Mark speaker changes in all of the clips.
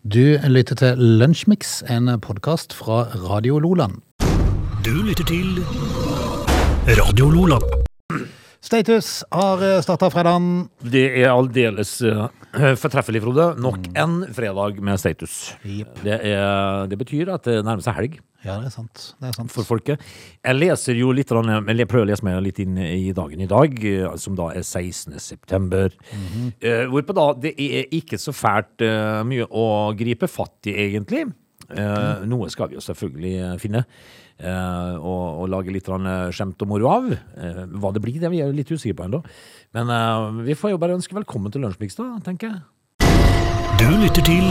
Speaker 1: Du lytter til Lunsjmix, en podkast fra Radio Loland.
Speaker 2: Du lytter til Radio Lola.
Speaker 1: Status har starta fredagen.
Speaker 2: Det er aldeles eh, fortreffelig, Frode. Nok en fredag med status. Det, er, det betyr at det nærmer seg helg
Speaker 1: Ja, det er sant. Det er sant.
Speaker 2: for folket. Jeg leser jo litt, grann- eller jeg prøver å lese meg litt inn i dagen i dag, eh, som da er 16. september. Eh, Hvorpå da det er ikke så fælt eh, mye å gripe fatt i, egentlig. Eh, Noe skal vi jo selvfølgelig eh, finne. eh, og, og lage litt grann, eh, skjemt og moro av. Eh, hva det blir, det er vi er litt usikre på ennå. Men eh, vi får jo bare ønske velkommen til Lunsjmix, da, tenker jeg.
Speaker 3: Du lytter til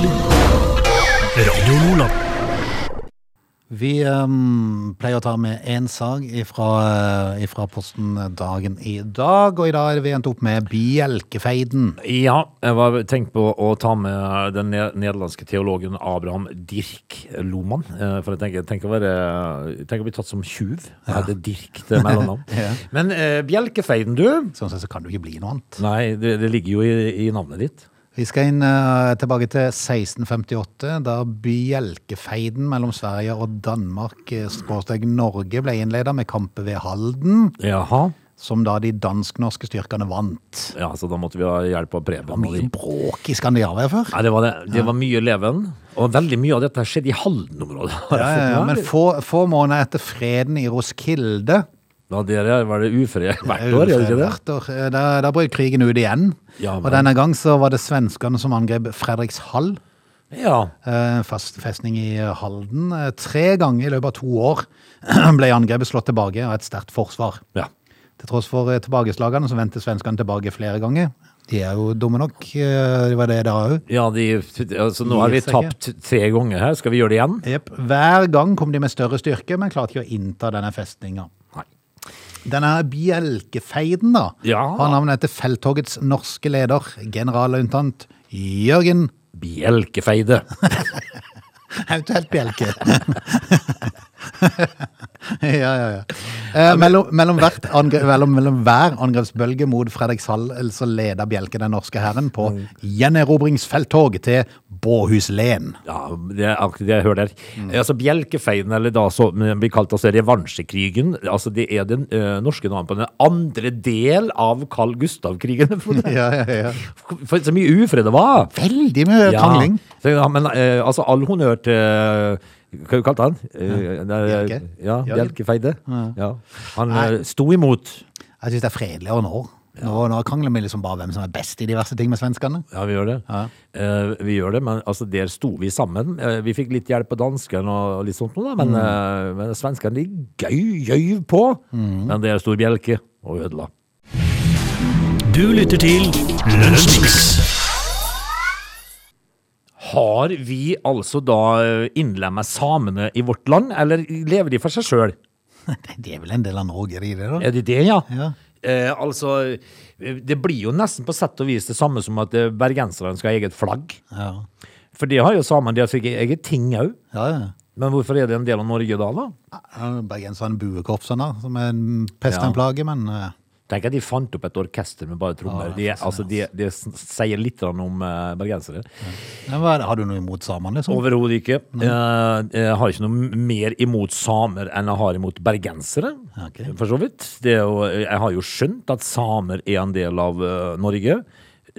Speaker 3: Radio Lola.
Speaker 1: Vi ehm, pleier å ta med én sag ifra, uh, ifra posten dagen i dag, og i dag har vi endt opp med bjelkefeiden.
Speaker 2: Ja, jeg var tenkt på å ta med den ne- nederlandske teologen Abraham Dirk Loman. eh, For jeg tenker, tenker, å, være, tenker å bli tatt som tjuv. Jeg hadde Dirk til mellomnavn.
Speaker 1: Ja.
Speaker 2: Men eh, bjelkefeiden, du.
Speaker 1: Sånn sett så kan det jo ikke bli noe annet.
Speaker 2: Nei, det, det ligger jo i, i navnet ditt.
Speaker 1: Vi skal inn eh, tilbake til 1658, da bjelkefeiden mellom Sverige og Danmark, eh, skråstrek Norge, ble innleda med kamper ved Halden,
Speaker 2: Jaha.
Speaker 1: som da de dansk-norske styrkene vant.
Speaker 2: Ja, Så da måtte vi ha hjelp av Preben. og
Speaker 1: Mye
Speaker 2: de.
Speaker 1: bråk i Skandinavia før.
Speaker 2: Nei, det var, det. det var mye leven. Og veldig mye av dette skjedde i Halden-området. har jeg
Speaker 1: Ja, ja,
Speaker 2: fått
Speaker 1: ja,
Speaker 2: med meg.
Speaker 1: men få, få måneder etter freden i Roskilde
Speaker 2: Ja, dere var det ufrie hvert år, gjør det ikke det?
Speaker 1: hvert år, eh, Da, da brøt krigen ut igjen.
Speaker 2: Ja,
Speaker 1: og
Speaker 2: men-
Speaker 1: denne gang så var det svenskene som angrep Fredrikshall,
Speaker 2: Ja.
Speaker 1: eh, fast festning i eh, Halden. Eh, Tre ganger i løpet av to år ble angrepet slått tilbake av et sterkt forsvar.
Speaker 2: ja.
Speaker 1: Til tross for eh, tilbakeslagene så vendte svenskene tilbake flere ganger. De er jo dumme nok, eh, det var det da òg.
Speaker 2: Ja, de, altså, nå har
Speaker 1: Gir
Speaker 2: vi
Speaker 1: seg ikke.
Speaker 2: tapt tre ganger her. Skal vi gjøre det igjen?
Speaker 1: Jep. Hver gang kom de med større styrke, men klarte ikke å innta denne festninga.
Speaker 2: Nei.
Speaker 1: Denne bjelkefeiden da,
Speaker 2: Ja.
Speaker 1: har navnet etter felttogets norske leder, generalløytnant Jørgen
Speaker 2: Bjelkefeide.
Speaker 1: Eventuelt Bjelke. ja, ja, ja. Eh, mellom, mellom, hvert angre, mellom, mellom hver angrepsbølge mot Fredrikshall så leda Bjelke den norske hæren på
Speaker 2: Mm.
Speaker 1: gjenerobringsfelttog til Båhuslen.
Speaker 2: Ja, det er akkurat det jeg hører der. Altså, Bjelkefeiden, eller da som den blir kalt altså, revansjekrigen, altså, det er den eh, norske navnet på den andre del av Carl Gustav-krigen. For, det-
Speaker 1: Ja, ja, ja.
Speaker 2: for så mye ufred det var!
Speaker 1: Veldig mye krangling.
Speaker 2: Så, ja, men eh, altså, all honnør til eh, hva du kalte han? Eh, det er-
Speaker 1: Bjelke.
Speaker 2: Ja,
Speaker 1: Jørgen.
Speaker 2: Bjelkefeide. Ja. Han eh, sto imot.
Speaker 1: Jeg syns det er fredeligere nå. Nå, nå krangler vi liksom bare hvem som er best i diverse ting med svenskene.
Speaker 2: Ja, vi gjør det. Eh, vi gjør det, men altså, der sto vi sammen. Eh, vi fikk litt hjelp av danskene og litt sånt, noe da, men, eh, men svenskene de gøy, gøyv på. Men der sto Bjelke og ødela.
Speaker 3: Du lytter til Lunsjmix.
Speaker 2: Har vi altså da innlemma samene i vårt land, eller lever de for seg sjøl?
Speaker 1: Det er vel en del av Norge, er det ikke det? da?
Speaker 2: Er de det, ja?
Speaker 1: Ja.
Speaker 2: Eh, altså, det blir jo nesten på sett og vis det samme som at eh, bergenserne skal ha eget flagg.
Speaker 1: Ja.
Speaker 2: For de har jo samene, de har sikkert eget ting òg.
Speaker 1: ja, ja.
Speaker 2: Men hvorfor er det en del av Norge da, da?
Speaker 1: Ja, Bergenseren buekorpsen, da, som er en pest og en
Speaker 2: Ja.
Speaker 1: plage, men eh,
Speaker 2: Tenk at de fant opp et orkester med bare trommer.
Speaker 1: Ja,
Speaker 2: Det altså, de, de s- sier litt grann om eh, bergensere.
Speaker 1: ja, hva er det? Har du noe imot samene, liksom?
Speaker 2: Overhodet ikke. Eh, jeg har ikke noe mer imot samer enn jeg har imot bergensere,
Speaker 1: Ok.
Speaker 2: for så vidt. Det er jo, jeg har jo skjønt at samer er en del av eh, Norge,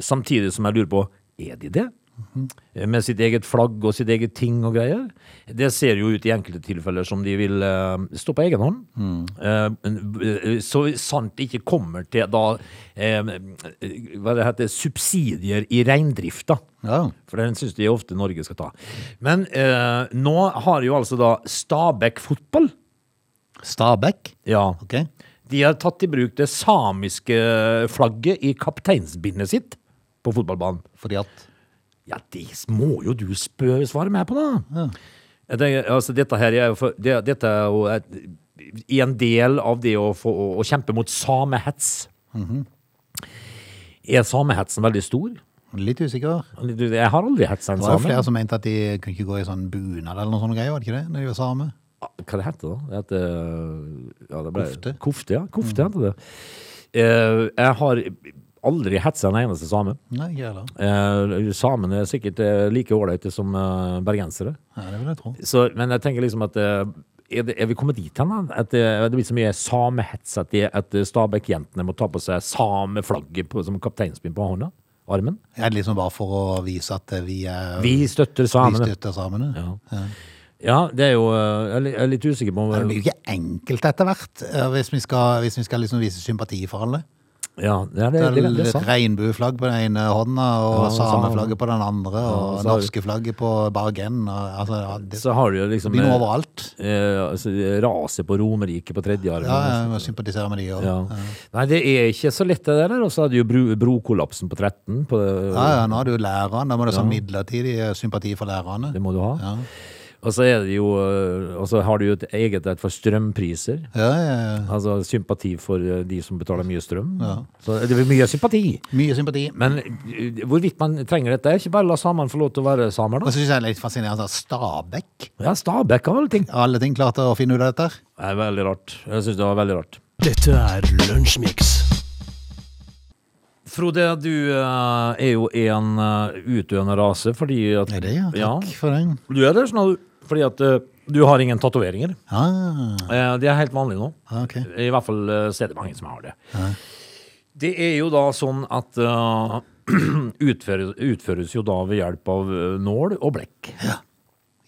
Speaker 2: samtidig som jeg lurer på er de det?
Speaker 1: Mhm.
Speaker 2: Eh, Med sitt eget flagg og sitt eget ting og greier. Det ser jo ut i enkelte tilfeller som de vil eh, stå på egen hånd.
Speaker 1: Mm.
Speaker 2: Eh, så sant det ikke kommer til da eh, hva det heter, subsidier i reindrifta.
Speaker 1: Ja.
Speaker 2: For den syns de ofte Norge skal ta. Men eh, nå har jo altså da Stabæk fotball
Speaker 1: Stabæk?
Speaker 2: ja.
Speaker 1: Ok.
Speaker 2: De har tatt i bruk det samiske flagget i kapteinsbindet sitt på fotballbanen.
Speaker 1: Fordi at
Speaker 2: Ja, det må jo du spø svare meg på, da. Jeg tenker, altså, dette her er jo for, det, Dette er jo et, i en del av det å, få, å, å kjempe mot samehets.
Speaker 1: Mhm.
Speaker 2: Er samehetsen veldig stor?
Speaker 1: Litt usikker.
Speaker 2: Jeg har aldri hetsa en
Speaker 1: Det var jo
Speaker 2: same.
Speaker 1: flere som mente at de kunne ikke gå i sånn bunad eller noe sånt greier, var det ikke det? Når de var same?
Speaker 2: Hva det heter det? da? Det heter ja, det ble,
Speaker 1: Kofte. Mm.
Speaker 2: Kofte, ja. Kofte heter det. Eh, jeg har aldri hetsa en eneste same.
Speaker 1: Nei, ikke heller.
Speaker 2: Eh, samene er sikkert eh, like ålreite som eh, bergensere.
Speaker 1: Nei, det vil jeg tro.
Speaker 2: Så, men jeg tenker liksom at eh, er, det, er vi kommet dit hen, da? At det, det blir så mye samehets at, de- at Stabæk-jentene må ta på seg sameflagget på, som kapteinspinn på hånda? Armen?
Speaker 1: Er det liksom bare for å vise at eh, vi er
Speaker 2: Vi støtter
Speaker 1: vi
Speaker 2: samene.
Speaker 1: støtter samene?
Speaker 2: Ja. ja, det er jo eh, Jeg er li- jeg er litt usikker på om
Speaker 1: Det blir jo ikke enkelt etter hvert, eh, hvis vi skal, hvis vi skal liksom vise sympati for alle.
Speaker 2: Ja, det er,
Speaker 1: Det
Speaker 2: det, det,
Speaker 1: er
Speaker 2: det er
Speaker 1: litt
Speaker 2: sant.
Speaker 1: regnbueflagg på den ene hånda, og
Speaker 2: Ja, og
Speaker 1: sameflagget på den andre,
Speaker 2: Ja,
Speaker 1: og
Speaker 2: så har vi-
Speaker 1: norske flagget på Bargen. Og, altså, ja, det
Speaker 2: Så har du jo liksom
Speaker 1: blir
Speaker 2: eh,
Speaker 1: noe overalt.
Speaker 2: eh, altså, raset på Romerriket på tredje armen.
Speaker 1: Ja, ja, vi må sympatisere med de òg.
Speaker 2: Ja. Nei, det er ikke så lett det der. Og så hadde jo bro, brokollapsen på 13. På,
Speaker 1: Ja, ja, nå er du læreren, da må du ha sånn midlertidig sympati for lærerne.
Speaker 2: Det må du ha.
Speaker 1: Ja.
Speaker 2: Og så er det jo øh, Og så har du jo et eget et for strømpriser.
Speaker 1: Ja, ja, ja.
Speaker 2: Altså sympati for øh, de som betaler mye strøm. Så det blir mye sympati.
Speaker 1: Mye sympati.
Speaker 2: Men øh, hvorvidt man trenger dette, er ikke bare la samene få lov til å være samer,
Speaker 1: Og
Speaker 2: da.
Speaker 1: så syns jeg det er litt fascinerende at Stabæk
Speaker 2: Ja, Stabæk av alle ting.
Speaker 1: har alle ting klarte å finne ut av dette. her.
Speaker 2: Det er veldig rart. Jeg syns det var veldig rart.
Speaker 3: Dette er Lunsjmix.
Speaker 2: Frode, du øh, er jo en øh, utdøende rase fordi at
Speaker 1: Er det, ja? Takk for den.
Speaker 2: Du er det, sånn at, fordi at øh, du har ingen tatoveringer.
Speaker 1: Ah,
Speaker 2: Eh, Det er helt vanlig nå.
Speaker 1: ok.
Speaker 2: I hvert fall eh, så er det mange som har det. Det er jo da sånn at eh, utføres, utføres jo da ved hjelp av eh, nål og blekk.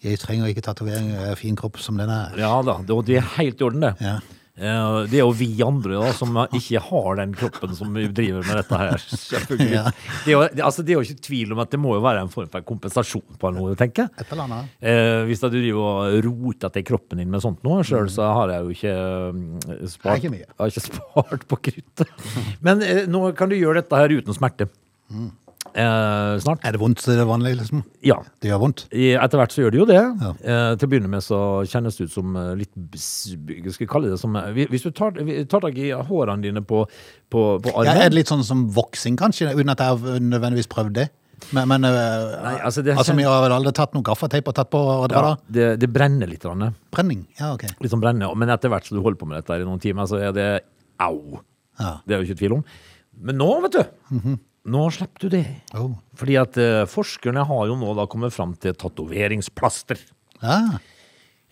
Speaker 1: Jeg trenger ikke tatovering, jeg er fin kropp som den er.
Speaker 2: Ja da, det, og det er helt i orden, det.
Speaker 1: Ja.
Speaker 2: Eh, Det er jo vi andre da, som ikke har den kroppen som vi driver med dette her. selvfølgelig.
Speaker 1: Ja.
Speaker 2: Det, er jo, det- altså, det er jo ikke tvil om at det må jo være en form for kompensasjon på noe, tenker jeg.
Speaker 1: Et eller annet.
Speaker 2: Eh, hvis da du driver og roter til kroppen din med sånt nå, sjøl så har jeg jo ikke mm, spart,
Speaker 1: Det er ikke mye.
Speaker 2: jeg har ikke spart på kruttet. Men eh, nå kan du gjøre dette her uten smerte.
Speaker 1: Mm.
Speaker 2: Eh, snart.
Speaker 1: Er det vondt til det vanlige, liksom?
Speaker 2: Ja.
Speaker 1: Det gjør vondt?
Speaker 2: I- Etter hvert så gjør det jo det.
Speaker 1: Ja.
Speaker 2: Eh, til å begynne med så kjennes det ut som eh, litt bs- Skal vi kalle det som eh, Hvis du tar, tar tak i hårene dine på, på, på
Speaker 1: Ja,
Speaker 2: armen
Speaker 1: er det litt sånn som voksing, kanskje? Uten at jeg har nødvendigvis prøvd det. Men, men øh,
Speaker 2: Nei, altså,
Speaker 1: altså,
Speaker 2: det kjen-
Speaker 1: vi har vel aldri tatt noe gaffateip og tatt på og dra,
Speaker 2: ja,
Speaker 1: da?
Speaker 2: det, det brenner litt. grann.
Speaker 1: Brenning? Ja, ok.
Speaker 2: Litt sånn brennende, Men etter hvert som du holder på med dette her i noen timer, så er det au.
Speaker 1: Ja.
Speaker 2: Det er jo ikke tvil om. Men nå, vet du,
Speaker 1: Mhm.
Speaker 2: nå slipper du det.
Speaker 1: Oh.
Speaker 2: Fordi at eh, forskerne har jo nå da kommet fram til tatoveringsplaster.
Speaker 1: Ja.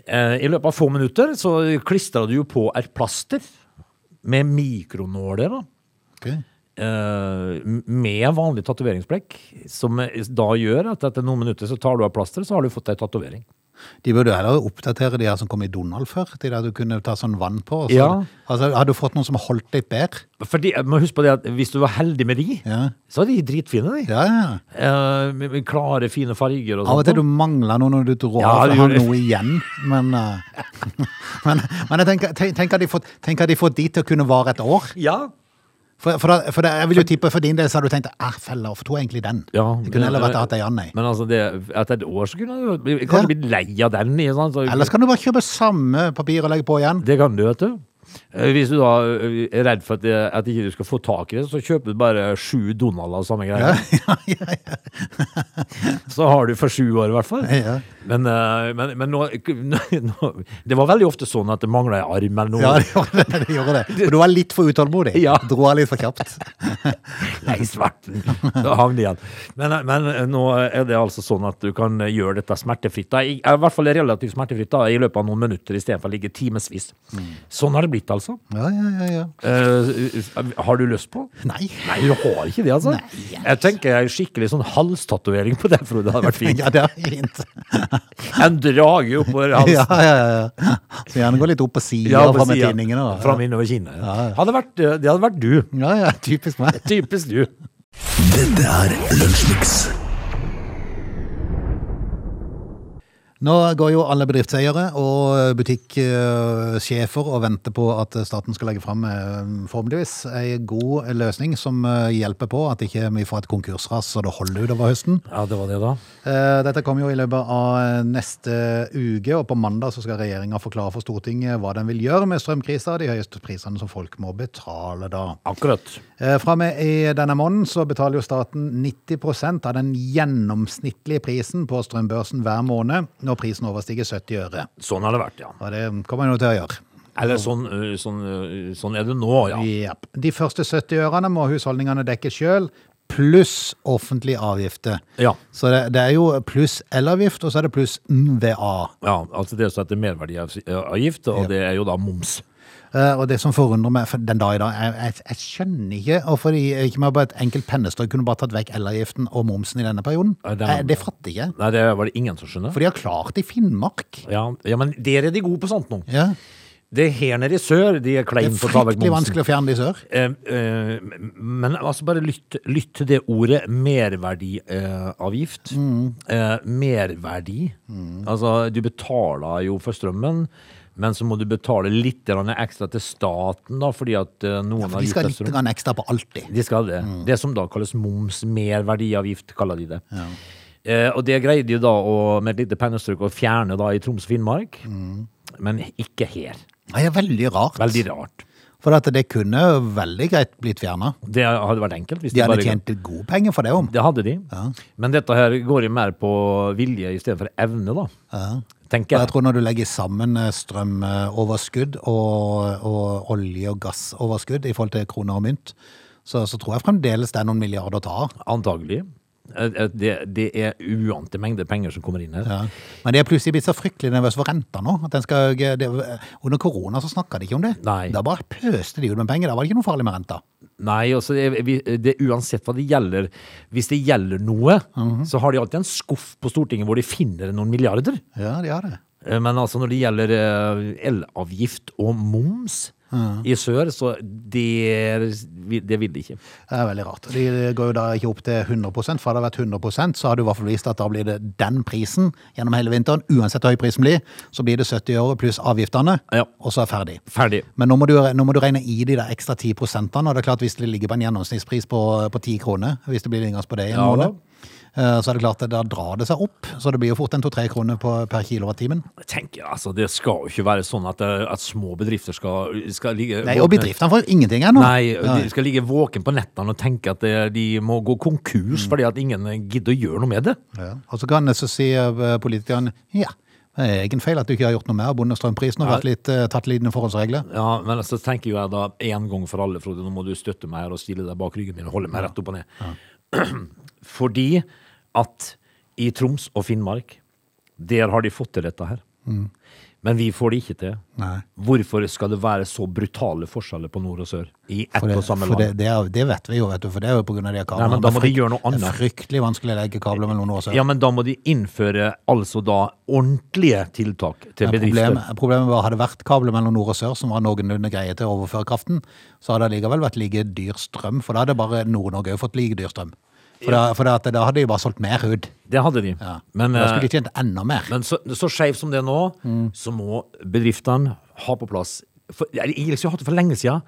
Speaker 2: Eh, I løpet av få minutter så klistra du jo på et plaster med mikronåler, da.
Speaker 1: ok.
Speaker 2: eh, Med vanlig tatoveringsblekk, som eh, da gjør at etter noen minutter så tar du av plasteret, så har du fått ei tatovering.
Speaker 1: De burde jo heller oppdatere de her som kom i Donald før, de der du kunne ta sånn vann på. og Så,
Speaker 2: Ja.
Speaker 1: altså, har du fått noen som har holdt deg bedre?
Speaker 2: Fordi, jeg må huske på det at Hvis du var heldig med de,
Speaker 1: Ja.
Speaker 2: så er de dritfine, de.
Speaker 1: Ja, ja.
Speaker 2: Eh, med- med klare, fine farger og
Speaker 1: Av og
Speaker 2: sånt.
Speaker 1: til du mangler noe når du drar
Speaker 2: Ja,
Speaker 1: av,
Speaker 2: det
Speaker 1: for har
Speaker 2: gjorde-
Speaker 1: noe igjen. Men, øh, men, men jeg tenker, tenk, tenk, at de fått, tenk at de fått de til å kunne vare et år.
Speaker 2: Ja.
Speaker 1: For, for, da, for da, jeg vil jo tippe, for din del så har du tenkt "Ah, Æh, fella, hvorfor tok jeg egentlig den?
Speaker 2: Ja,
Speaker 1: jeg kunne heller
Speaker 2: men-
Speaker 1: vært hatt ei annen. jeg».
Speaker 2: Men altså, det, etter et år så kunne du bli- kanskje
Speaker 1: Ja.
Speaker 2: blitt lei av den. ikke sant? Så,
Speaker 1: Ellers kan du bare kjøpe samme papir og legge på igjen.
Speaker 2: Det kan du, vet du. Eh, Hvis du da eh, er redd for at, det, at ikke du skal få tak i det, så kjøper du bare sju Donald av samme greie. så har du for sju år, i hvert fall.
Speaker 1: Ja.
Speaker 2: Men, eh, men, men nå, nå Det var veldig ofte sånn at det mangla en arm eller noe.
Speaker 1: Ja, det gjorde det. det, gjorde det. For du var litt for utålmodig.
Speaker 2: Ja.
Speaker 1: Dro av litt for kjapt.
Speaker 2: Nei, svarten! Da havner jeg igjen. Men, eh, men nå er det altså sånn at du kan gjøre dette smertefritt. Da. I, I hvert fall relativt smertefritt da, i løpet av noen minutter istedenfor å ligge timevis.
Speaker 1: Mm.
Speaker 2: Sånn har det blitt, altså.
Speaker 1: Ja, ja, ja, ja.
Speaker 2: Eh, har du lyst på?
Speaker 1: Nei.
Speaker 2: Nei, du har ikke det, altså. Jeg tenker en skikkelig sånn halstatovering på deg, Frode. Det hadde vært fint.
Speaker 1: Ja, det er fint.
Speaker 2: En drage oppover halsen.
Speaker 1: Ja, ja, ja. Så gjerne gå litt opp på sida
Speaker 2: Ja, på
Speaker 1: fra med
Speaker 2: siden.
Speaker 1: tinningene. da.
Speaker 2: Fram innover kinnet. Hadde vært, eh, det hadde vært du.
Speaker 1: Ja, ja, typisk meg.
Speaker 2: Typisk du.
Speaker 3: Dette er Lunsjmix.
Speaker 1: Nå går jo alle bedriftseiere og butikksjefer og venter på at staten skal legge fram eh, forhåpentligvis en god løsning som eh, hjelper på at ikke vi får et konkursras så det holder utover høsten.
Speaker 2: Ja, det var det, da.
Speaker 1: Eh, Dette kommer jo i løpet av neste uke, og på mandag så skal regjeringa forklare for Stortinget hva den vil gjøre med strømkrisa og de høyeste prisene som folk må betale da.
Speaker 2: Akkurat.
Speaker 1: Eh, Fra og med i denne måneden så betaler jo staten 90 av den gjennomsnittlige prisen på strømbørsen hver måned når prisen overstiger 70 øre.
Speaker 2: Sånn har det vært, ja.
Speaker 1: Og det kommer man jo til å gjøre.
Speaker 2: Eller sånn, eh, sånn, eh, sånn er det nå, ja.
Speaker 1: Japp. De første 70 ørene må husholdningene dekke sjøl, pluss offentlige avgifter.
Speaker 2: Ja.
Speaker 1: Så det, det er jo pluss elavgift, og så er det pluss NVA.
Speaker 2: ja altså det som heter merverdiavgift, og
Speaker 1: Ja.
Speaker 2: det er jo da moms.
Speaker 1: Eh, og det som forundrer meg for den dag i dag, jeg, jeg, jeg skjønner ikke hvorfor de ikke med bare et enkelt pennestrøk kunne bare tatt vekk elavgiften og momsen i denne perioden.
Speaker 2: Nei, den-
Speaker 1: Eh, det fatter jeg ikke.
Speaker 2: Nei, det var det ingen som skjønner.
Speaker 1: For de har klart det i Finnmark.
Speaker 2: Ja, ja, men der er de gode på sånt nå.
Speaker 1: Ja.
Speaker 2: Det er her nede i sør de er
Speaker 1: Det
Speaker 2: kleine
Speaker 1: er
Speaker 2: på å ta vekk
Speaker 1: fryktelig
Speaker 2: momsen.
Speaker 1: vanskelig å fjerne det i sør.
Speaker 2: Eh, eh, men altså bare lytt, lytt til det ordet merverdiavgift.
Speaker 1: Mm.
Speaker 2: Eh, merverdi. Altså, du betaler jo for strømmen, men så må du betale litt grann ekstra til staten, da, fordi at eh, noen
Speaker 1: For
Speaker 2: har
Speaker 1: de
Speaker 2: gitt
Speaker 1: skal
Speaker 2: deg
Speaker 1: litt
Speaker 2: strøm.
Speaker 1: grann Mm. ekstra på alltid.
Speaker 2: De skal det. Det som da kalles moms, merverdiavgift, kaller de det. Eh, og det greide de da å, med et lite pennestrøk å fjerne da i Troms og Finnmark,
Speaker 1: Mm.
Speaker 2: men ikke her.
Speaker 1: Nei, Det er veldig rart.
Speaker 2: Veldig rart.
Speaker 1: For at det kunne veldig greit blitt fjerna.
Speaker 2: Det hadde vært enkelt. Hvis
Speaker 1: De
Speaker 2: det
Speaker 1: hadde
Speaker 2: bare-
Speaker 1: tjent gode penger for det om.
Speaker 2: Det hadde de. Men dette her går jo mer på vilje i stedet for evne, da.
Speaker 1: Og
Speaker 2: Tenker
Speaker 1: jeg
Speaker 2: jeg.
Speaker 1: tror når du legger sammen eh, strømoverskudd og, og olje- og gassoverskudd i forhold til kroner og mynt, så, så tror jeg fremdeles det er noen milliarder å ta av.
Speaker 2: Antagelig. Eh, eh, Det, det er uante mengder penger som kommer inn her.
Speaker 1: Ja. Men de har plutselig blitt så fryktelig nervøse for renta nå. At den skal, det, under korona så snakka de ikke om det.
Speaker 2: Nei.
Speaker 1: Da bare pøste de ut med penger. Da var det ikke noe farlig med renta.
Speaker 2: Nei, altså, det, vi- det, uansett hva det gjelder, hvis det gjelder noe,
Speaker 1: Mhm.
Speaker 2: så har de alltid en skuff på Stortinget hvor de finner noen milliarder.
Speaker 1: Ja, de har det.
Speaker 2: Eh, Men altså, når det gjelder eh, elavgift og moms i sør, så det, det vil de ikke.
Speaker 1: Det er veldig rart. De går jo da ikke opp til 100 for hadde det vært 100 så har du i hvert fall vist at da blir det den prisen gjennom hele vinteren. Uansett hvor høy prisen blir, så blir det 70 øre pluss avgiftene,
Speaker 2: Ja.
Speaker 1: og så er ferdig.
Speaker 2: Ferdig.
Speaker 1: Men nå må, du, nå må du regne i de der ekstra 10 prosentene, og det er klart hvis det ligger på en gjennomsnittspris på, på 10 kroner, hvis det blir inngangs på det i en
Speaker 2: Ja,
Speaker 1: måned, eh, så er det klart at da drar det seg opp, så det blir jo fort en 2-3 kroner på, per kilowattimen.
Speaker 2: Jeg tenker, altså, Det skal jo ikke være sånn at, eh, at små bedrifter skal, skal ligge
Speaker 1: Nei, og
Speaker 2: våkne-
Speaker 1: bedriftene får ingenting ennå.
Speaker 2: Nei, de skal ligge våken på nettene og tenke at eh, de må gå
Speaker 1: Mm.
Speaker 2: konkurs fordi at ingen eh, gidder å gjøre noe med det.
Speaker 1: Ja. Og så kan jeg så si eh, politikerne, ja, det er egen feil at du ikke har gjort noe mer, bonde- og strømprisen har vært litt, eh, tatt lidende forholdsregler.
Speaker 2: Ja, Men så tenker jo jeg da en gang for alle, Frode, nå må du støtte meg her og stille deg bak ryggen min og holde meg rett opp og ned. Fordi at i Troms og Finnmark, der har de fått til dette her. Men vi får det ikke til.
Speaker 1: Mm. Nei.
Speaker 2: Hvorfor skal det være så brutale forskjeller på nord og sør i ett
Speaker 1: For, det,
Speaker 2: og samme
Speaker 1: for
Speaker 2: land?
Speaker 1: det, det, er, det vet vi jo, vet du, for det er jo på grunn av de her kablene.
Speaker 2: Nei, men da må
Speaker 1: Det er
Speaker 2: de gjøre noe
Speaker 1: frykt-
Speaker 2: annet.
Speaker 1: Det er fryktelig vanskelig å legge kabler mellom noen år siden.
Speaker 2: Ja, men da må de innføre altså da ordentlige tiltak til
Speaker 1: Men
Speaker 2: bedrifter.
Speaker 1: Problemet, problemet var, hadde det vært kabler mellom nord og sør som var noenlunde greie til å overføre kraften, så hadde det likevel vært like dyr strøm, for da hadde bare Nord-Norge fått like dyr strøm. For, da, for da, at da hadde de bare solgt mer hud.
Speaker 2: Det hadde de. Mm.
Speaker 1: Ja.
Speaker 2: Men,
Speaker 1: da skulle
Speaker 2: eh,
Speaker 1: de tjent enda mer.
Speaker 2: men så, så skjev som det er nå, så må bedriftene ha på plass for, jeg, jeg har hatt det for lenge siden.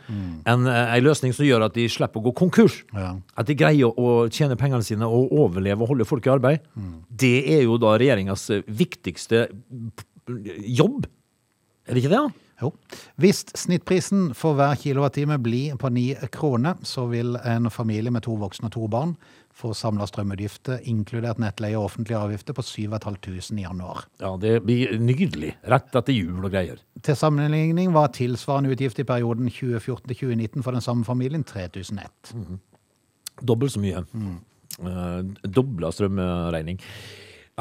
Speaker 2: En, eh, en løsning som gjør at de slipper å gå konkurs.
Speaker 1: Ja.
Speaker 2: At de greier å tjene pengene sine og overleve og holde folk i arbeid. Det er jo da regjeringas eh, viktigste p- jobb. Er det ikke det? da?
Speaker 1: Jo. Hvis snittprisen for hver kilowattime blir på 9 kroner, så vil en familie med to voksne og to barn få samla strømutgifter, inkludert nettleie og offentlige avgifter, på 7500 i januar.
Speaker 2: Ja, det blir nydelig. Rett etter jul og greier.
Speaker 1: Til sammenligning var tilsvarende utgift i perioden 2014-2019 for den samme familien 3001.
Speaker 2: Dobbelt så mye. Eh, dobla strømregning.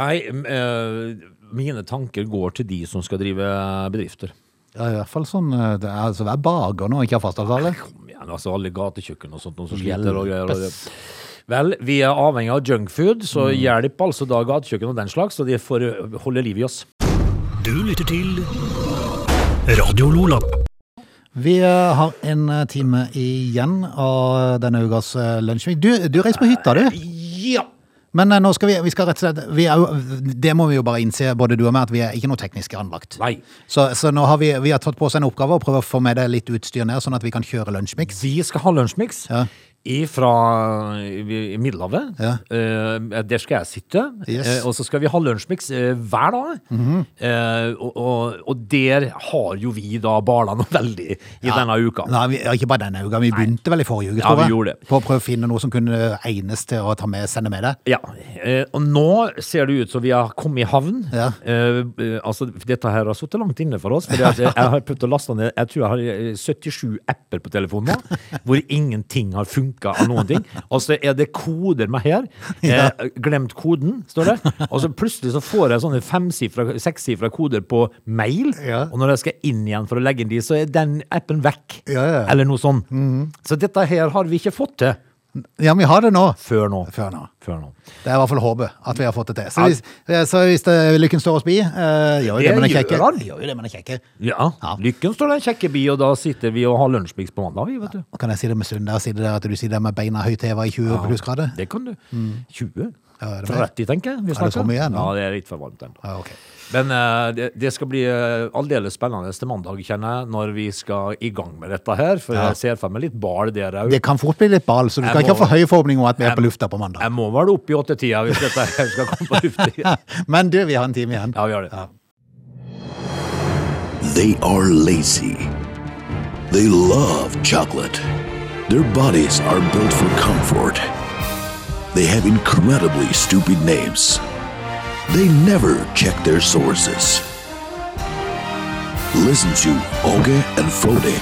Speaker 2: Nei, m- eh, mine tanker går til de som skal drive bedrifter.
Speaker 1: Ja, i hvert fall sånn eh, det er, altså, Vær baker nå, ikke har fastavtale.
Speaker 2: Kom igjen, altså alle gatekjøkken og sånt, noen som sliter og greier. Og det. Vel, vi er avhengig av junkfood, så hjelp altså da gatekjøkken og den slags, så de får eh, holde liv i oss.
Speaker 3: Du lytter til Radio Lola.
Speaker 1: Vi eh, har en eh, time igjen av denne ukas eh, lunsjvik. Du, du reiser på hytta, du.
Speaker 2: Ja!
Speaker 1: Men eh, nå skal vi, vi skal rett og slett vi er, jo- Det må vi jo bare innse, både du og meg, at vi er ikke noe teknisk anlagt.
Speaker 2: Nei.
Speaker 1: Så, så nå har vi, vi har tatt på oss en oppgave å prøve å få med deg litt utstyr ned, sånn at vi kan kjøre lunsjmix.
Speaker 2: Vi skal ha lunsjmix.
Speaker 1: Ja.
Speaker 2: Fra Middelhavet.
Speaker 1: Ja.
Speaker 2: Eh, der skal jeg sitte.
Speaker 1: Yes. Mhm.
Speaker 2: Eh, og så skal vi ha lunsjmix eh, hver dag. Eh, og, og, og der har jo vi da bala noe veldig i denne uka.
Speaker 1: Nei, vi, ja, ikke bare denne uka. Vi begynte vel i forrige uke,
Speaker 2: Ja,
Speaker 1: tror
Speaker 2: vi
Speaker 1: jeg.
Speaker 2: gjorde det.
Speaker 1: På å prøve å finne noe som kunne egnes til å ta med, sende med deg.
Speaker 2: Ja, eh, og nå ser det ut som vi har kommet i havn.
Speaker 1: Ja.
Speaker 2: Eh, eh, altså, dette her har sittet langt inne for oss. Fordi at jeg, jeg har prøvd å laste ned Jeg tror jeg har eh, 77 apper på telefonen nå, hvor ingenting har funka av noen ting. Og så er det koder med her. Eh, glemt koden, står det. Og så plutselig så får jeg sånne femsifra, sekssifra koder på mail.
Speaker 1: Ja.
Speaker 2: Og når jeg skal inn igjen for å legge inn de, så er den appen vekk.
Speaker 1: Ja, ja. Mhm.
Speaker 2: Eller noe sånt. Så dette her har vi ikke fått til
Speaker 1: Ja, vi har det nå.
Speaker 2: før nå.
Speaker 1: Før nå.
Speaker 2: Før nå.
Speaker 1: Det er i hvert fall håpet at vi har fått det til. Så hvis, så hvis det, lykken står oss bi, eh, gjør jo det,
Speaker 2: Det
Speaker 1: men er
Speaker 2: gjør
Speaker 1: kjekke.
Speaker 2: han.
Speaker 1: Gjør jo det, men er kjekke.
Speaker 2: Ja.
Speaker 1: Ja.
Speaker 2: Lykken står det en kjekke bi, og da sitter vi og har lunsjmix på mandag, vi, vet du.
Speaker 1: Kan jeg si det med sunn der, si det der at du sier det med beina høyt heva i 20 plussgrader?
Speaker 2: Det kan du. 20?
Speaker 1: Mm. Ja, er det mer?
Speaker 2: 30, tenker jeg. Vi
Speaker 1: så
Speaker 2: snakker.
Speaker 1: mye igjen, da?
Speaker 2: ja, det er litt for varmt ennå.
Speaker 1: Ja, Ah, ok.
Speaker 2: Men eh, det, det skal bli eh, aldeles spennende til mandag, kjenner jeg, når vi skal i gang med dette her. For jeg ser for meg litt bal der òg.
Speaker 1: Det kan fort bli litt ball, så du
Speaker 2: Jeg
Speaker 1: skal ikke ha
Speaker 2: må-
Speaker 1: for høye forhåpninger om at vi er
Speaker 2: Jeg-
Speaker 1: på lufta på mandag.
Speaker 2: Jeg må vel opp i åttetida hvis dette her skal komme på luft igjen.
Speaker 1: Men du, vi har en time igjen.
Speaker 2: Ja, vi gjør det.
Speaker 4: They are lazy. They love chocolate. Their bodies are built for comfort. They have incredibly stupid names. They never check their sources. Listen to Oge and Frode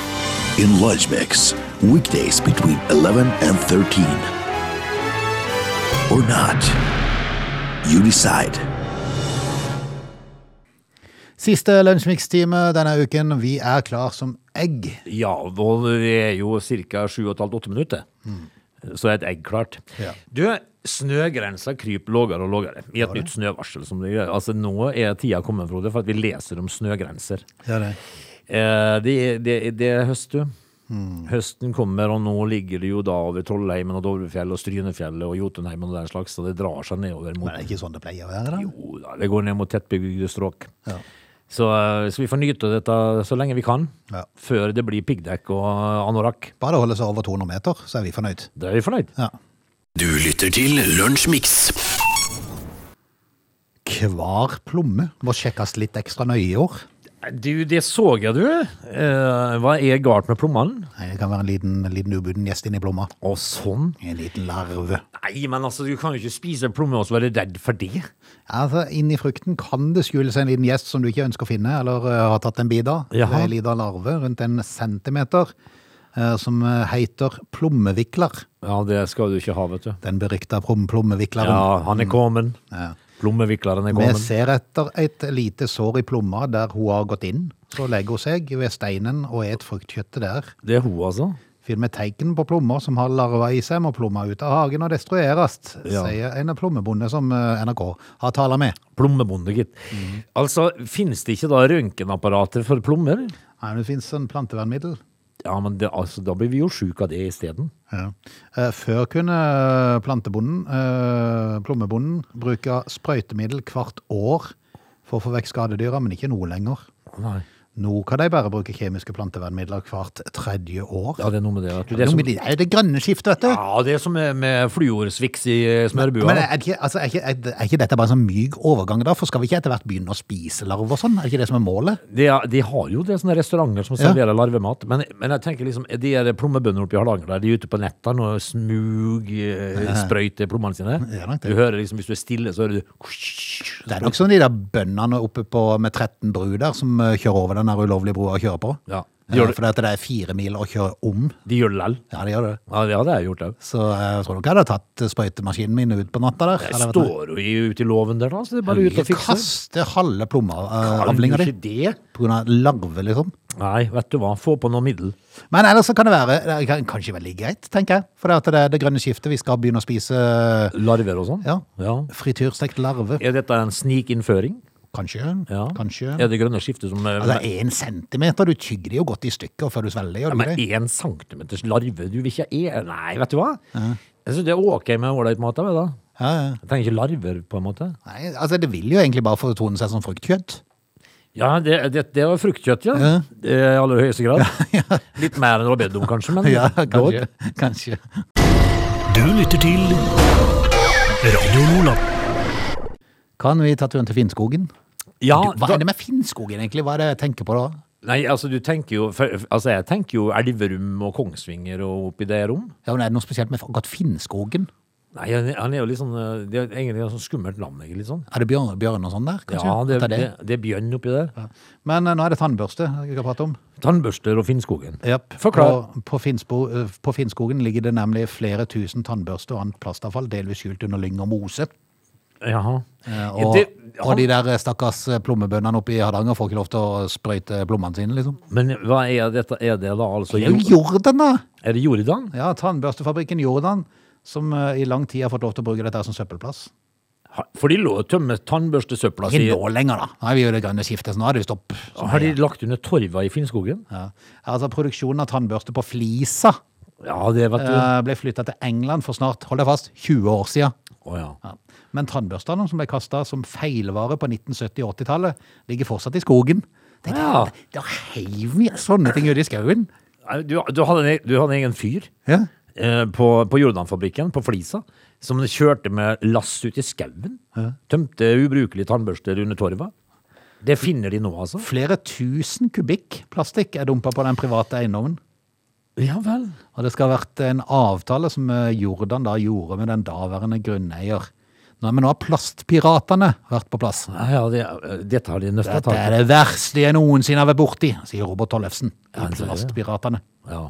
Speaker 4: in Lunch Mix, weekdays between 11 and 13. Or not. You decide.
Speaker 1: Siste lunsjmikstime denne uken. Vi er klar som egg.
Speaker 2: Ja, og det er jo ca. 7,5-8 minutter. Så er et egg klart.
Speaker 1: Mm. Ja.
Speaker 2: Du, snøgrensa kryper lågere og lågere i et nytt snøvarsel. som det gjør. Altså, Nå er tida kommet, Frode, for at vi leser om snøgrenser.
Speaker 1: Ja, det.
Speaker 2: Eh, det, det, det er høst, du.
Speaker 1: Mm.
Speaker 2: Høsten kommer, og nå ligger det jo da over Trollheimen og Dovrefjell og Strynefjellet og Jotunheimen og den slags, så det drar seg nedover mot
Speaker 1: Men det er ikke sånn det pleier å være, da.
Speaker 2: Jo da, det går ned mot tettbygde strøk.
Speaker 1: Ja.
Speaker 2: Så, eh, så vi får nyte dette så lenge vi kan,
Speaker 1: Ja.
Speaker 2: før det blir piggdekk og anorakk.
Speaker 1: Bare det holder seg over 200 meter, så er vi fornøyd.
Speaker 2: Da er vi fornøyd.
Speaker 1: Ja.
Speaker 3: Du lytter til Lunsjmix.
Speaker 1: Hver plomme må sjekkes litt ekstra nøye i år.
Speaker 2: Du, det så jeg, du. Eh, hva er galt med plommene?
Speaker 1: Nei, Det kan være en liten, liten ubuden gjest inni plomma.
Speaker 2: Å, sånn.
Speaker 1: En liten larve.
Speaker 2: Nei, men altså, du kan jo ikke spise plomme og så være redd for det.
Speaker 1: Altså, Inni frukten kan det skjule seg en liten gjest som du ikke ønsker å finne, eller eh, har tatt en bit av. Det
Speaker 2: Jaha.
Speaker 1: er En liten larve rundt en centimeter, eh, som eh, heter plommevikler.
Speaker 2: Ja, det skal du ikke ha, vet du.
Speaker 1: Den berykta plom plommevikleren.
Speaker 2: Ja, han er kommet.
Speaker 1: Mm. Ja.
Speaker 2: Plommevikleren er
Speaker 1: Vi
Speaker 2: kommet.
Speaker 1: ser etter et lite sår i plomma der hun har gått inn. Så legger hun seg ved steinen og et fruktkjøttet der.
Speaker 2: Det er hun, altså.
Speaker 1: Filmer tegn på plommer som har larva i seg, må plomma ut av hagen og destrueres,
Speaker 2: Ja.
Speaker 1: sier en plommebonde som eh, NRK har tala med.
Speaker 2: Plommebonde, gitt.
Speaker 1: Mm.
Speaker 2: Altså, finnes det ikke da røntgenapparater for plommer?
Speaker 1: Nei, men det fins en plantevernmiddel.
Speaker 2: Ja, men det, altså, da blir vi jo sjuke av det isteden.
Speaker 1: Ja. Eh, Før kunne eh, plantebonden, eh, plommebonden, bruke sprøytemiddel hvert år for å få vekk skadedyra, men ikke nå lenger.
Speaker 2: Nei.
Speaker 1: Nå kan de bare bruke kjemiske plantevernmidler hvert tredje år.
Speaker 2: Ja, det er noe med det. Vet du.
Speaker 1: Det er,
Speaker 2: Det er som,
Speaker 1: det er jo det grønne skiftet, vet du.
Speaker 2: ja, det er som med, med fluorsviks i eh, smørbua.
Speaker 1: Men er, det ikke, altså, er, ikke, er, det- er ikke dette bare en sånn myk overgang, da? For skal vi ikke etter hvert begynne å spise larver og sånn? Er det ikke det som er målet?
Speaker 2: De, de har jo det, sånne restauranter som
Speaker 1: Ja.
Speaker 2: serverer larvemat. Men, men jeg tenker liksom, de er plommebønder oppe i Hardanger, der, de er ute på nettene og smug, eh, sprøyter plommene sine.
Speaker 1: Ja, nok det.
Speaker 2: Du hører liksom, hvis du er stille, så hører du
Speaker 1: Det er nok sånn de der bøndene oppe på med 13 bru der, som eh, kjører over den der ulovlige brua og kjører på.
Speaker 2: Ja, de
Speaker 1: Ja,
Speaker 2: gjør,
Speaker 1: fordi at det er fire mil å kjøre om.
Speaker 2: det- de gjør det lell.
Speaker 1: Ja, det gjør det.
Speaker 2: Ja, det hadde jeg gjort òg.
Speaker 1: Så jeg tror nok jeg hadde tatt sprøytemaskinen min ut på natta der.
Speaker 2: Jeg
Speaker 1: eller vet du.
Speaker 2: står jo i- ute i låven der, da, så det er bare ut og
Speaker 1: Ikke
Speaker 2: fikse.
Speaker 1: kaste halve
Speaker 2: Kan du
Speaker 1: plommeavlinga di
Speaker 2: ikke det?
Speaker 1: på grunn av larve, liksom.
Speaker 2: Nei, vet du hva. Få på noe middel.
Speaker 1: Men ellers så kan det være det kan kanskje veldig greit, tenker jeg. For det at det er det grønne skiftet. Vi skal begynne å spise
Speaker 2: Larver og sånn.
Speaker 1: ja,
Speaker 2: Ja.
Speaker 1: frityrstekt larve.
Speaker 2: Er dette en snikinnføring?
Speaker 1: Kanskje.
Speaker 2: Ja.
Speaker 1: kanskje.
Speaker 2: Er det grønne skiftet som eh,
Speaker 1: Altså, en centimeter, du tygger det jo godt i stykker før du svelger, gjør du
Speaker 2: Men
Speaker 1: ikke det?
Speaker 2: én centimeters larve du vil ikke ha er- Nei, vet du hva? Jeg syns det er ok med ålreit mat. jeg, da.
Speaker 1: Ja, ja.
Speaker 2: Jeg trenger ikke larver, på en måte.
Speaker 1: Nei, altså, det vil jo egentlig bare fortone seg som fruktkjøtt.
Speaker 2: Ja, det, det, det var fruktkjøtt, ja. Eh, I aller høyeste grad. Litt mer enn rabedum, kanskje, men
Speaker 1: Ja,
Speaker 2: dog.
Speaker 1: kanskje. kanskje.
Speaker 5: Du lytter til Radio Nordland.
Speaker 1: Kan vi ta turen til Finnskogen?
Speaker 2: Ja,
Speaker 1: du, hva
Speaker 2: da-
Speaker 1: er det med Finnskogen, egentlig? Hva er det jeg tenker på da?
Speaker 2: Nei, altså du tenker jo for, Altså jeg tenker jo Elverum og Kongsvinger og oppi det rom.
Speaker 1: Ja, men Er det noe spesielt med akkurat Finnskogen?
Speaker 2: Nei, han er- han er jo litt sånn eh, Det er egentlig et sånn skummelt navn, egentlig. Sånn.
Speaker 1: Er det bjørn, bjørn og sånn der? kanskje?
Speaker 2: Ja, det,
Speaker 1: At
Speaker 2: det, det er bjørn oppi der.
Speaker 1: Men eh, nå er det tannbørste vi skal prate om.
Speaker 2: Tannbørster og Finnskogen.
Speaker 1: Japp.
Speaker 2: Forklar.
Speaker 1: På, på, Finnsbo, eh, på Finnskogen ligger det nemlig flere tusen tannbørster og annet plastavfall, delvis skjult under lyng og mose.
Speaker 2: Jaha.
Speaker 1: Eh,
Speaker 2: Ja,
Speaker 1: Og,
Speaker 2: det,
Speaker 1: og de
Speaker 2: han,
Speaker 1: der eh, stakkars eh, plommebøndene oppe i Hardanger får ikke lov til å sprøyte plommene sine, liksom.
Speaker 2: men hva er dette? Er det da altså
Speaker 1: Det er
Speaker 2: jo-
Speaker 1: jo Jordan, da!
Speaker 2: Er det Jordan?
Speaker 1: Ja, Tannbørstefabrikken Jordan, som eh, i lang tid har fått lov til å bruke dette her som søppelplass.
Speaker 2: Ha- For de lå og tømme tannbørstesøpla si.
Speaker 1: Ikke nå lenger, da. Nå er vi jo i det grønne skiftet, så nå er det jo stopp.
Speaker 2: Har de lagt under torva i Finnskogen?
Speaker 1: Ja. Altså, produksjonen av tannbørste på flisa
Speaker 2: Ja, det vet du.
Speaker 1: eh, ble flytta til England for snart, hold deg fast, 20 år siden.
Speaker 2: Å ja.
Speaker 1: Ja. Men tannbørstene som ble kasta som feilvare på 1970- og 80-tallet, ligger fortsatt i skogen. Det,
Speaker 2: Ja.
Speaker 1: Da heiv vi sånne ting ut i skauen.
Speaker 2: Nei, Du, du, hadde, en e- du hadde en egen fyr
Speaker 1: Ja.
Speaker 2: eh, på, på Jordanfabrikken, på Flisa, som kjørte med lass ut i skauen. Tømte ubrukelige tannbørster under torva. Det finner de nå, altså.
Speaker 1: Flere tusen kubikk plastikk er dumpa på den private eiendommen.
Speaker 2: Ja vel.
Speaker 1: Og det skal ha vært en avtale som eh, Jordan da gjorde med den daværende grunneier. Nå, men nå har plastpiratene vært på plass.
Speaker 2: Ja, ja, det, eh, dette har de nøsta
Speaker 1: Dette
Speaker 2: tak
Speaker 1: er
Speaker 2: i.
Speaker 1: det verste jeg noensinne har vært borti, sier Robert Tollefsen. i
Speaker 2: Ja, han sier det.
Speaker 1: Plastpiratene.
Speaker 2: Ja.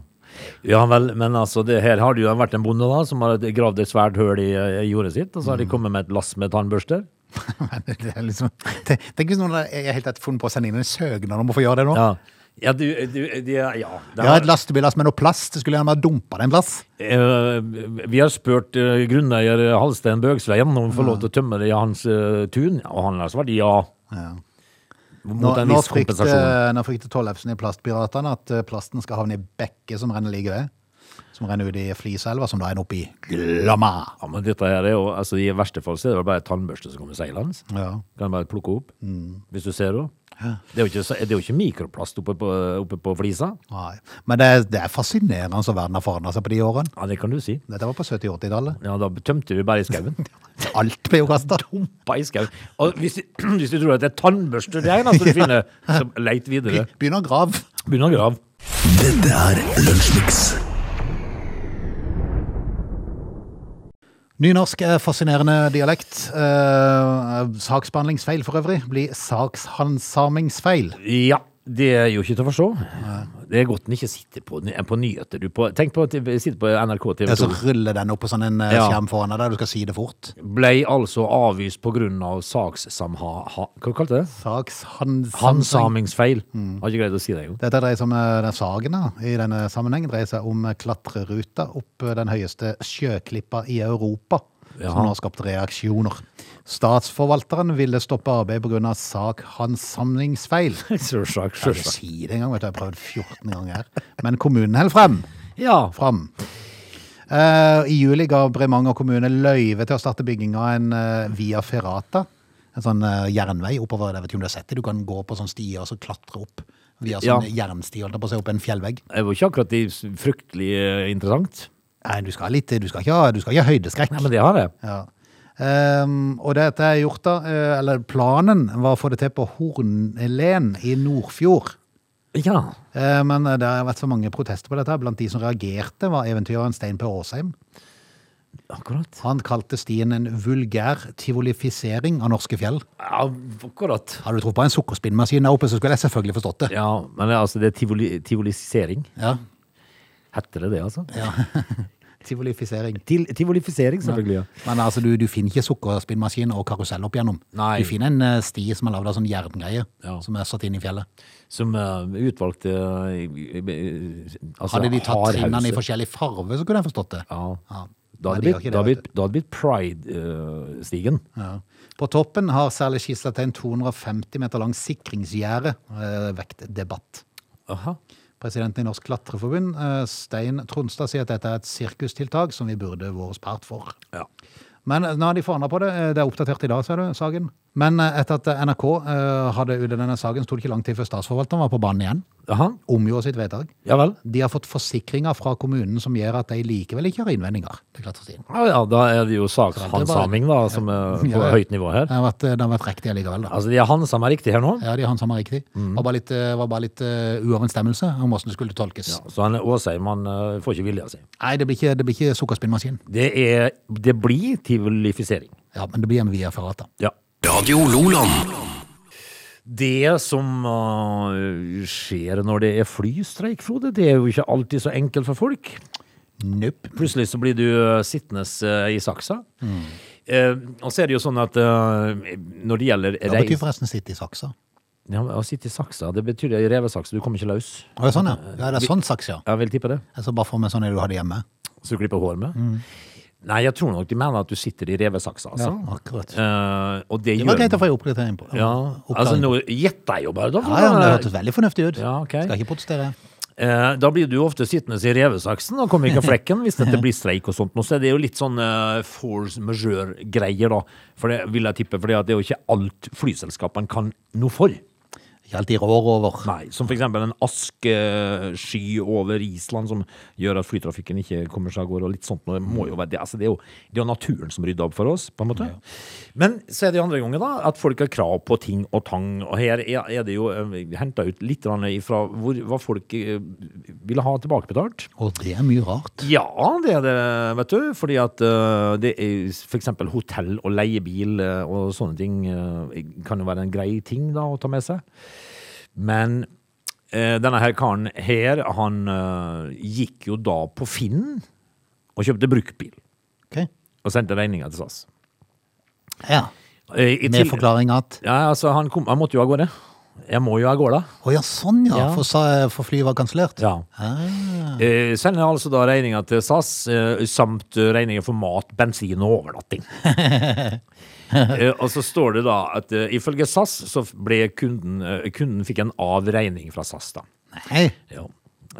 Speaker 2: ja vel, men altså, det, her har det jo vært en bonde da, som har gravd et svært høl i, eh, i jordet sitt, og så har
Speaker 1: Mm.
Speaker 2: de kommet med et lass med tannbørster.
Speaker 1: Men det er liksom, te- Tenk hvis noen har i det hele tatt funnet på å sende inn en søknad om å få gjøre det nå.
Speaker 2: Ja, ja du, du de, Ja. det
Speaker 1: Jeg har
Speaker 2: har-
Speaker 1: et lastebillass med noe plast. Det skulle gjerne bare dumpa det en plass.
Speaker 2: Eh, vi har spurt eh, grunneier Halstein Bøgsveien om han får lov til å tømme det i hans eh, tun, og han har svart ja. Mot
Speaker 1: Nå,
Speaker 2: en
Speaker 1: nå,
Speaker 2: viss
Speaker 1: frykter,
Speaker 2: kompensasjon.
Speaker 1: nå frykter Tollefsen i Plastpiratene at eh, plasten skal havne i bekket som renner like ved. Som renner ut i Fliselva, som da er oppe i Glomma.
Speaker 2: Ja, men dette her er jo, altså I verste fall så er det vel bare en tannbørste som kommer seilende.
Speaker 1: Ja.
Speaker 2: Kan bare plukke opp, hvis du ser henne. Det er jo ikke, så- det er jo ikke mikroplast oppe på, oppe på flisa.
Speaker 1: Nei. Men det, er- det er fascinerende så verden har forandra seg på de årene.
Speaker 2: Ja, det kan du si.
Speaker 1: Dette var på 70- og 80-tallet.
Speaker 2: Ja, Da tømte vi bare i skauen.
Speaker 1: Alt ble jo kasta.
Speaker 2: Bare i skauen. Og hvis, hvis du tror at det er tannbørste det eneste du finner, så leit videre.
Speaker 1: Begynn å grave.
Speaker 2: Begynn å grave.
Speaker 4: Dette er Lunsjmix.
Speaker 1: Nynorsk er fascinerende dialekt. Eh, saksbehandlingsfeil for øvrig blir sakshandsamingsfeil.
Speaker 2: Ja, det er jo ikke til å forstå. Det er godt den ikke sitter på, på nyheter. Du på, tenk på at de sitter på NRK TV
Speaker 1: Ja, så
Speaker 2: 2.
Speaker 1: ruller den opp på sånn en eh,
Speaker 2: Ja.
Speaker 1: skjerm foran deg der du skal si det fort.
Speaker 2: Blei altså avvist på grunn av sakssamha... Ha, hva kalte det?
Speaker 1: Sakshandsamingsfeil.
Speaker 2: Hansamingsfeil. Har ikke greid å si det engang.
Speaker 1: Dette dreier seg om eh, den sagen da, i denne sammenhengen dreier seg om eh, klatreruta opp eh, den høyeste sjøklippa i Europa,
Speaker 2: Ja.
Speaker 1: som nå har skapt reaksjoner. Statsforvalteren ville stoppe arbeidet pga. sakhansamlingsfeil. Jeg
Speaker 2: Sjølsagt,
Speaker 1: kan ikke
Speaker 2: sjølsagt.
Speaker 1: si det engang, vet du. Jeg har prøvd 14 ganger her. Men kommunen holder frem.
Speaker 2: Ja.
Speaker 1: fram. Eh, I juli ga Bremanger kommune løyve til å starte bygging av en eh, Via Ferrata. En sånn eh, jernvei oppover. Jeg vet ikke om du har sett det. Du kan gå på sånn stier og så klatre opp via
Speaker 2: Ja.
Speaker 1: sånn jernsti, holdt jeg på å si, opp en fjellvegg.
Speaker 2: Det var ikke akkurat det s- fryktelig eh, interessant.
Speaker 1: Nei, du skal ha litt Du skal ikke ha, du skal ikke ha høydeskrekk.
Speaker 2: Nei, men det har jeg.
Speaker 1: Ja. Ehm, og dette er gjort, da. eh, eller planen var å få det til på Hornelen i Nordfjord.
Speaker 2: Ja.
Speaker 1: Eh, men det har vært så mange protester på dette. Blant de som reagerte, var eventyreren Stein P. Åsheim.
Speaker 2: Akkurat.
Speaker 1: Han kalte stien en vulgær tivolifisering av norske fjell.
Speaker 2: Ja, akkurat.
Speaker 1: Hadde du trodd på en sukkerspinnmaskin der oppe, så skulle jeg selvfølgelig forstått det.
Speaker 2: Ja, men det er altså, det er tivoli, tivolisering.
Speaker 1: Ja.
Speaker 2: Heter det det, altså?
Speaker 1: Tivolifisering.
Speaker 2: Til, tivolifisering, selvfølgelig. ja.
Speaker 1: Men altså, du, du finner ikke sukkerspinnmaskin og karusell opp gjennom.
Speaker 2: Nei.
Speaker 1: Du finner en eh, sti som er lagd av sånn jerngreie,
Speaker 2: Ja.
Speaker 1: som er satt inn i fjellet.
Speaker 2: Som eh, utvalgte eh, i- i- altså,
Speaker 1: Hadde de tatt
Speaker 2: hardhauser.
Speaker 1: trinnene i forskjellig farve, så kunne jeg forstått det.
Speaker 2: Ja.
Speaker 1: Ja.
Speaker 2: Da
Speaker 1: Men
Speaker 2: hadde
Speaker 1: de
Speaker 2: det
Speaker 1: gjør ikke
Speaker 2: blitt,
Speaker 1: det,
Speaker 2: da hadde
Speaker 1: vet
Speaker 2: blitt, da hadde blitt Pride-stigen.
Speaker 1: Ja. På toppen har særlig skissa til en 250 meter lang sikringsgjerde eh, vekt debatt.
Speaker 2: Aha.
Speaker 1: Presidenten i Norsk Klatreforbund, eh, Stein Tronstad, sier at dette er et sirkustiltak som vi burde vært spart for.
Speaker 2: Ja.
Speaker 1: Men eh, nå har de forandra på det. Eh, Det er oppdatert i dag, sa du, saken. Men eh, etter at eh, NRK eh, hadde ute denne saken, sto det ikke lang tid før statsforvalteren var på banen igjen.
Speaker 2: Jaha.
Speaker 1: Omgjorde sitt vedtak.
Speaker 2: Ja vel.
Speaker 1: De har fått forsikringer fra kommunen som gjør at de likevel ikke har innvendinger. Det klatter seg inn.
Speaker 2: Ja, ja, da er det jo sakshandsaming da, som er på
Speaker 1: Ja, ja.
Speaker 2: høyt nivå her.
Speaker 1: Det har vært, eh, det har vært riktig allikevel, da.
Speaker 2: Altså, de har handsa meg riktig her nå.
Speaker 1: Ja, de handsammer riktig. Det var bare litt, eh, var bare litt eh, uoverensstemmelse om hvordan det skulle tolkes.
Speaker 2: Så han Åsheim han eh, får ikke vilja si.
Speaker 1: Nei, det blir ikke, det blir ikke sukkerspinnmaskin.
Speaker 2: Det, er, det blir tivolifisering.
Speaker 1: Ja, men det blir en via ferrata.
Speaker 2: Ja.
Speaker 3: Radio Loland.
Speaker 2: Det som eh, skjer når det er flystreik, Frode, det er jo ikke alltid så enkelt for folk.
Speaker 1: Nope. Mm.
Speaker 2: Plutselig så blir du eh, sittende eh, i saksa. Eh, og så er det jo sånn at eh, når det gjelder
Speaker 1: Det betyr
Speaker 2: reis...
Speaker 1: forresten sitte i saksa.
Speaker 2: Ja, men å sitte i saksa, det betyr ei revesakse. Du kommer ikke løs.
Speaker 1: Å, det er sånn, ja.
Speaker 2: Eh,
Speaker 1: ja. Det er sånn saks, ja.
Speaker 2: Jeg vil tippe det.
Speaker 1: Jeg så bare for meg sånn en du hadde hjemme.
Speaker 2: Så du klipper hår med?
Speaker 1: Mm.
Speaker 2: Nei, jeg tror nok de mener at du sitter i revesaksa, altså.
Speaker 1: akkurat.
Speaker 2: Eh, og
Speaker 1: Det
Speaker 2: det, gjør
Speaker 1: var greit å få en oppgradering på.
Speaker 2: Ja, altså
Speaker 1: Oppklaring.
Speaker 2: nå gjetter jeg jo bare, da.
Speaker 1: ja, ja, men det hørtes veldig fornuftig ut.
Speaker 2: Ja, ok.
Speaker 1: Skal ikke protestere.
Speaker 2: Eh, da blir du jo ofte sittende i revesaksen og kommer ikke av flekken hvis dette blir streik og sånt. Nå så er det jo litt sånn eh, force majeure-greier, da. For det vil jeg tippe, for det er jo ikke alt flyselskapene kan noe for.
Speaker 1: Ikke alltid rår over.
Speaker 2: Nei, Som for eksempel en askesky over Island som gjør at flytrafikken ikke kommer seg av gårde. og litt sånt. noe. Det, må jo være, det, altså det, er jo, det er jo naturen som rydder opp for oss, på en måte. Men så er det jo andre ganger da, at folk har krav på ting og tang. Og her er er det jo henta ut litt fra hvor, hva folk eh, ville ha tilbakebetalt.
Speaker 1: Og det er mye rart.
Speaker 2: Ja, det er det, vet du. Fordi at eh, det er f.eks. hotell og leiebil eh, og sånne ting eh, kan jo være en grei ting da å ta med seg. Men eh, denne her karen her, han eh, gikk jo da på Finn og kjøpte bruktbil.
Speaker 1: Ok.
Speaker 2: Og sendte regninga til SAS.
Speaker 1: Ja.
Speaker 2: Eh, i
Speaker 1: Med
Speaker 2: til-
Speaker 1: forklaring at
Speaker 2: Ja, altså, han, kom, han måtte jo av gårde. Jeg må jo av gårde.
Speaker 1: Å ja, sånn ja,
Speaker 2: Ja.
Speaker 1: For, sa- for flyet var kansellert?
Speaker 2: Ja.
Speaker 1: Ah.
Speaker 2: Eh, sender altså da regninga til SAS, eh, samt regninger for mat, bensin og overnatting. eh, og så står det da at eh, ifølge SAS så ble kunden, eh, kunden fikk en avregning fra SAS, da.
Speaker 1: Nei,
Speaker 2: Ja,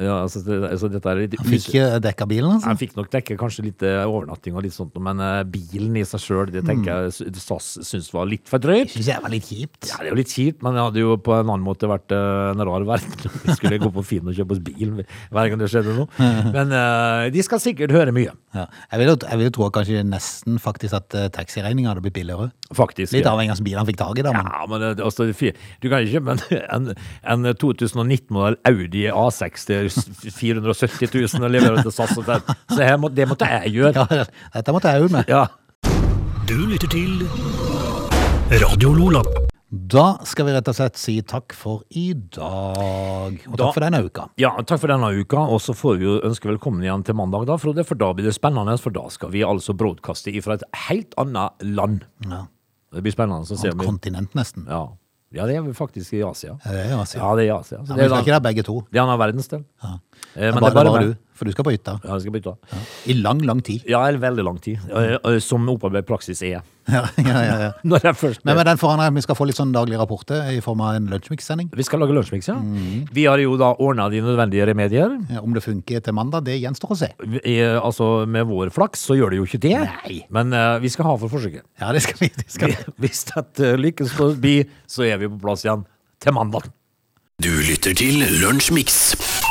Speaker 2: ja altså, det, altså dette er litt
Speaker 1: han fikk ikke dekka bilen, altså?
Speaker 2: Han fikk nok dekke kanskje litt eh, overnatting og litt sånt, men eh, bilen i seg sjøl, det
Speaker 1: Mm.
Speaker 2: tenker jeg s- SAS syns var litt for drøyt.
Speaker 1: Syns jeg var litt kjipt.
Speaker 2: Ja, det er jo litt kjipt, men det hadde jo på en annen måte vært eh, en rar verden. om Vi skulle gå på Finn og kjøpe oss bil hver gang det skjedde noe. Men eh, de skal sikkert høre mye,
Speaker 1: Ja. Jeg vil jo jeg vil jo tro kanskje nesten faktisk at eh, taxiregninga hadde blitt billigere.
Speaker 2: faktisk.
Speaker 1: Litt
Speaker 2: ja.
Speaker 1: avhengig av hvilken bil han fikk tak i, da. Men,
Speaker 2: Ja, men det- det- altså, det fi- du kan ikke kjøpe en, en, en 2019-modell Audi A6 til s- 470 000 og levere til SAS. og sånn. Så her må, det måtte jeg gjøre.
Speaker 1: ja. dette måtte jeg ut med.
Speaker 2: Ja.
Speaker 5: Du lytter til Radio Lola.
Speaker 1: Da skal vi rett og slett si takk for i dag. Og
Speaker 2: Da-
Speaker 1: takk for denne uka.
Speaker 2: Ja, takk for denne uka, og så får vi jo ønske velkommen igjen til mandag, da, Frode. For da blir det spennende, for da skal vi altså broadcaste ifra et helt annet land.
Speaker 1: Ja.
Speaker 2: Det blir spennende å se om
Speaker 1: Annet
Speaker 2: vi
Speaker 1: kontinent, nesten.
Speaker 2: ja. ja, det er vi faktisk i Asia.
Speaker 1: Ja, det er jo Asia.
Speaker 2: Ja, det er i Asia. Så
Speaker 1: Ja,
Speaker 2: det
Speaker 1: men vi
Speaker 2: er
Speaker 1: skal
Speaker 2: da-
Speaker 1: ikke der begge to.
Speaker 2: det er en av verdensdel.
Speaker 1: Ja.
Speaker 2: Eh,
Speaker 1: Men
Speaker 2: men
Speaker 1: bare,
Speaker 2: det er bare
Speaker 1: bare
Speaker 2: meg.
Speaker 1: du, for du skal på hytta.
Speaker 2: Ja, jeg skal bytte. da.
Speaker 1: I lang, lang tid.
Speaker 2: Ja, eller veldig lang tid. eh, eh, Som opparbeidet praksis er.
Speaker 1: Ja, ja, ja, ja.
Speaker 2: Når jeg først
Speaker 1: Men med den forandrer jeg at vi skal få litt sånn daglige rapporter i form av en lunsjmix-sending.
Speaker 2: Vi skal lage lunsjmix, ja.
Speaker 1: Mm.
Speaker 2: Vi har jo da ordna de nødvendige remedier.
Speaker 1: Ja, Om det funker til mandag, det gjenstår å se.
Speaker 2: Vi, eh, altså, med vår flaks så gjør det jo ikke det.
Speaker 1: Nei.
Speaker 2: Men eh, vi skal ha for forsøket.
Speaker 1: Ja, det skal vi. Det skal vi.
Speaker 2: Hvis dette lykkes forbi, så er vi på plass igjen til mandag.
Speaker 3: Du lytter til Lunsjmix.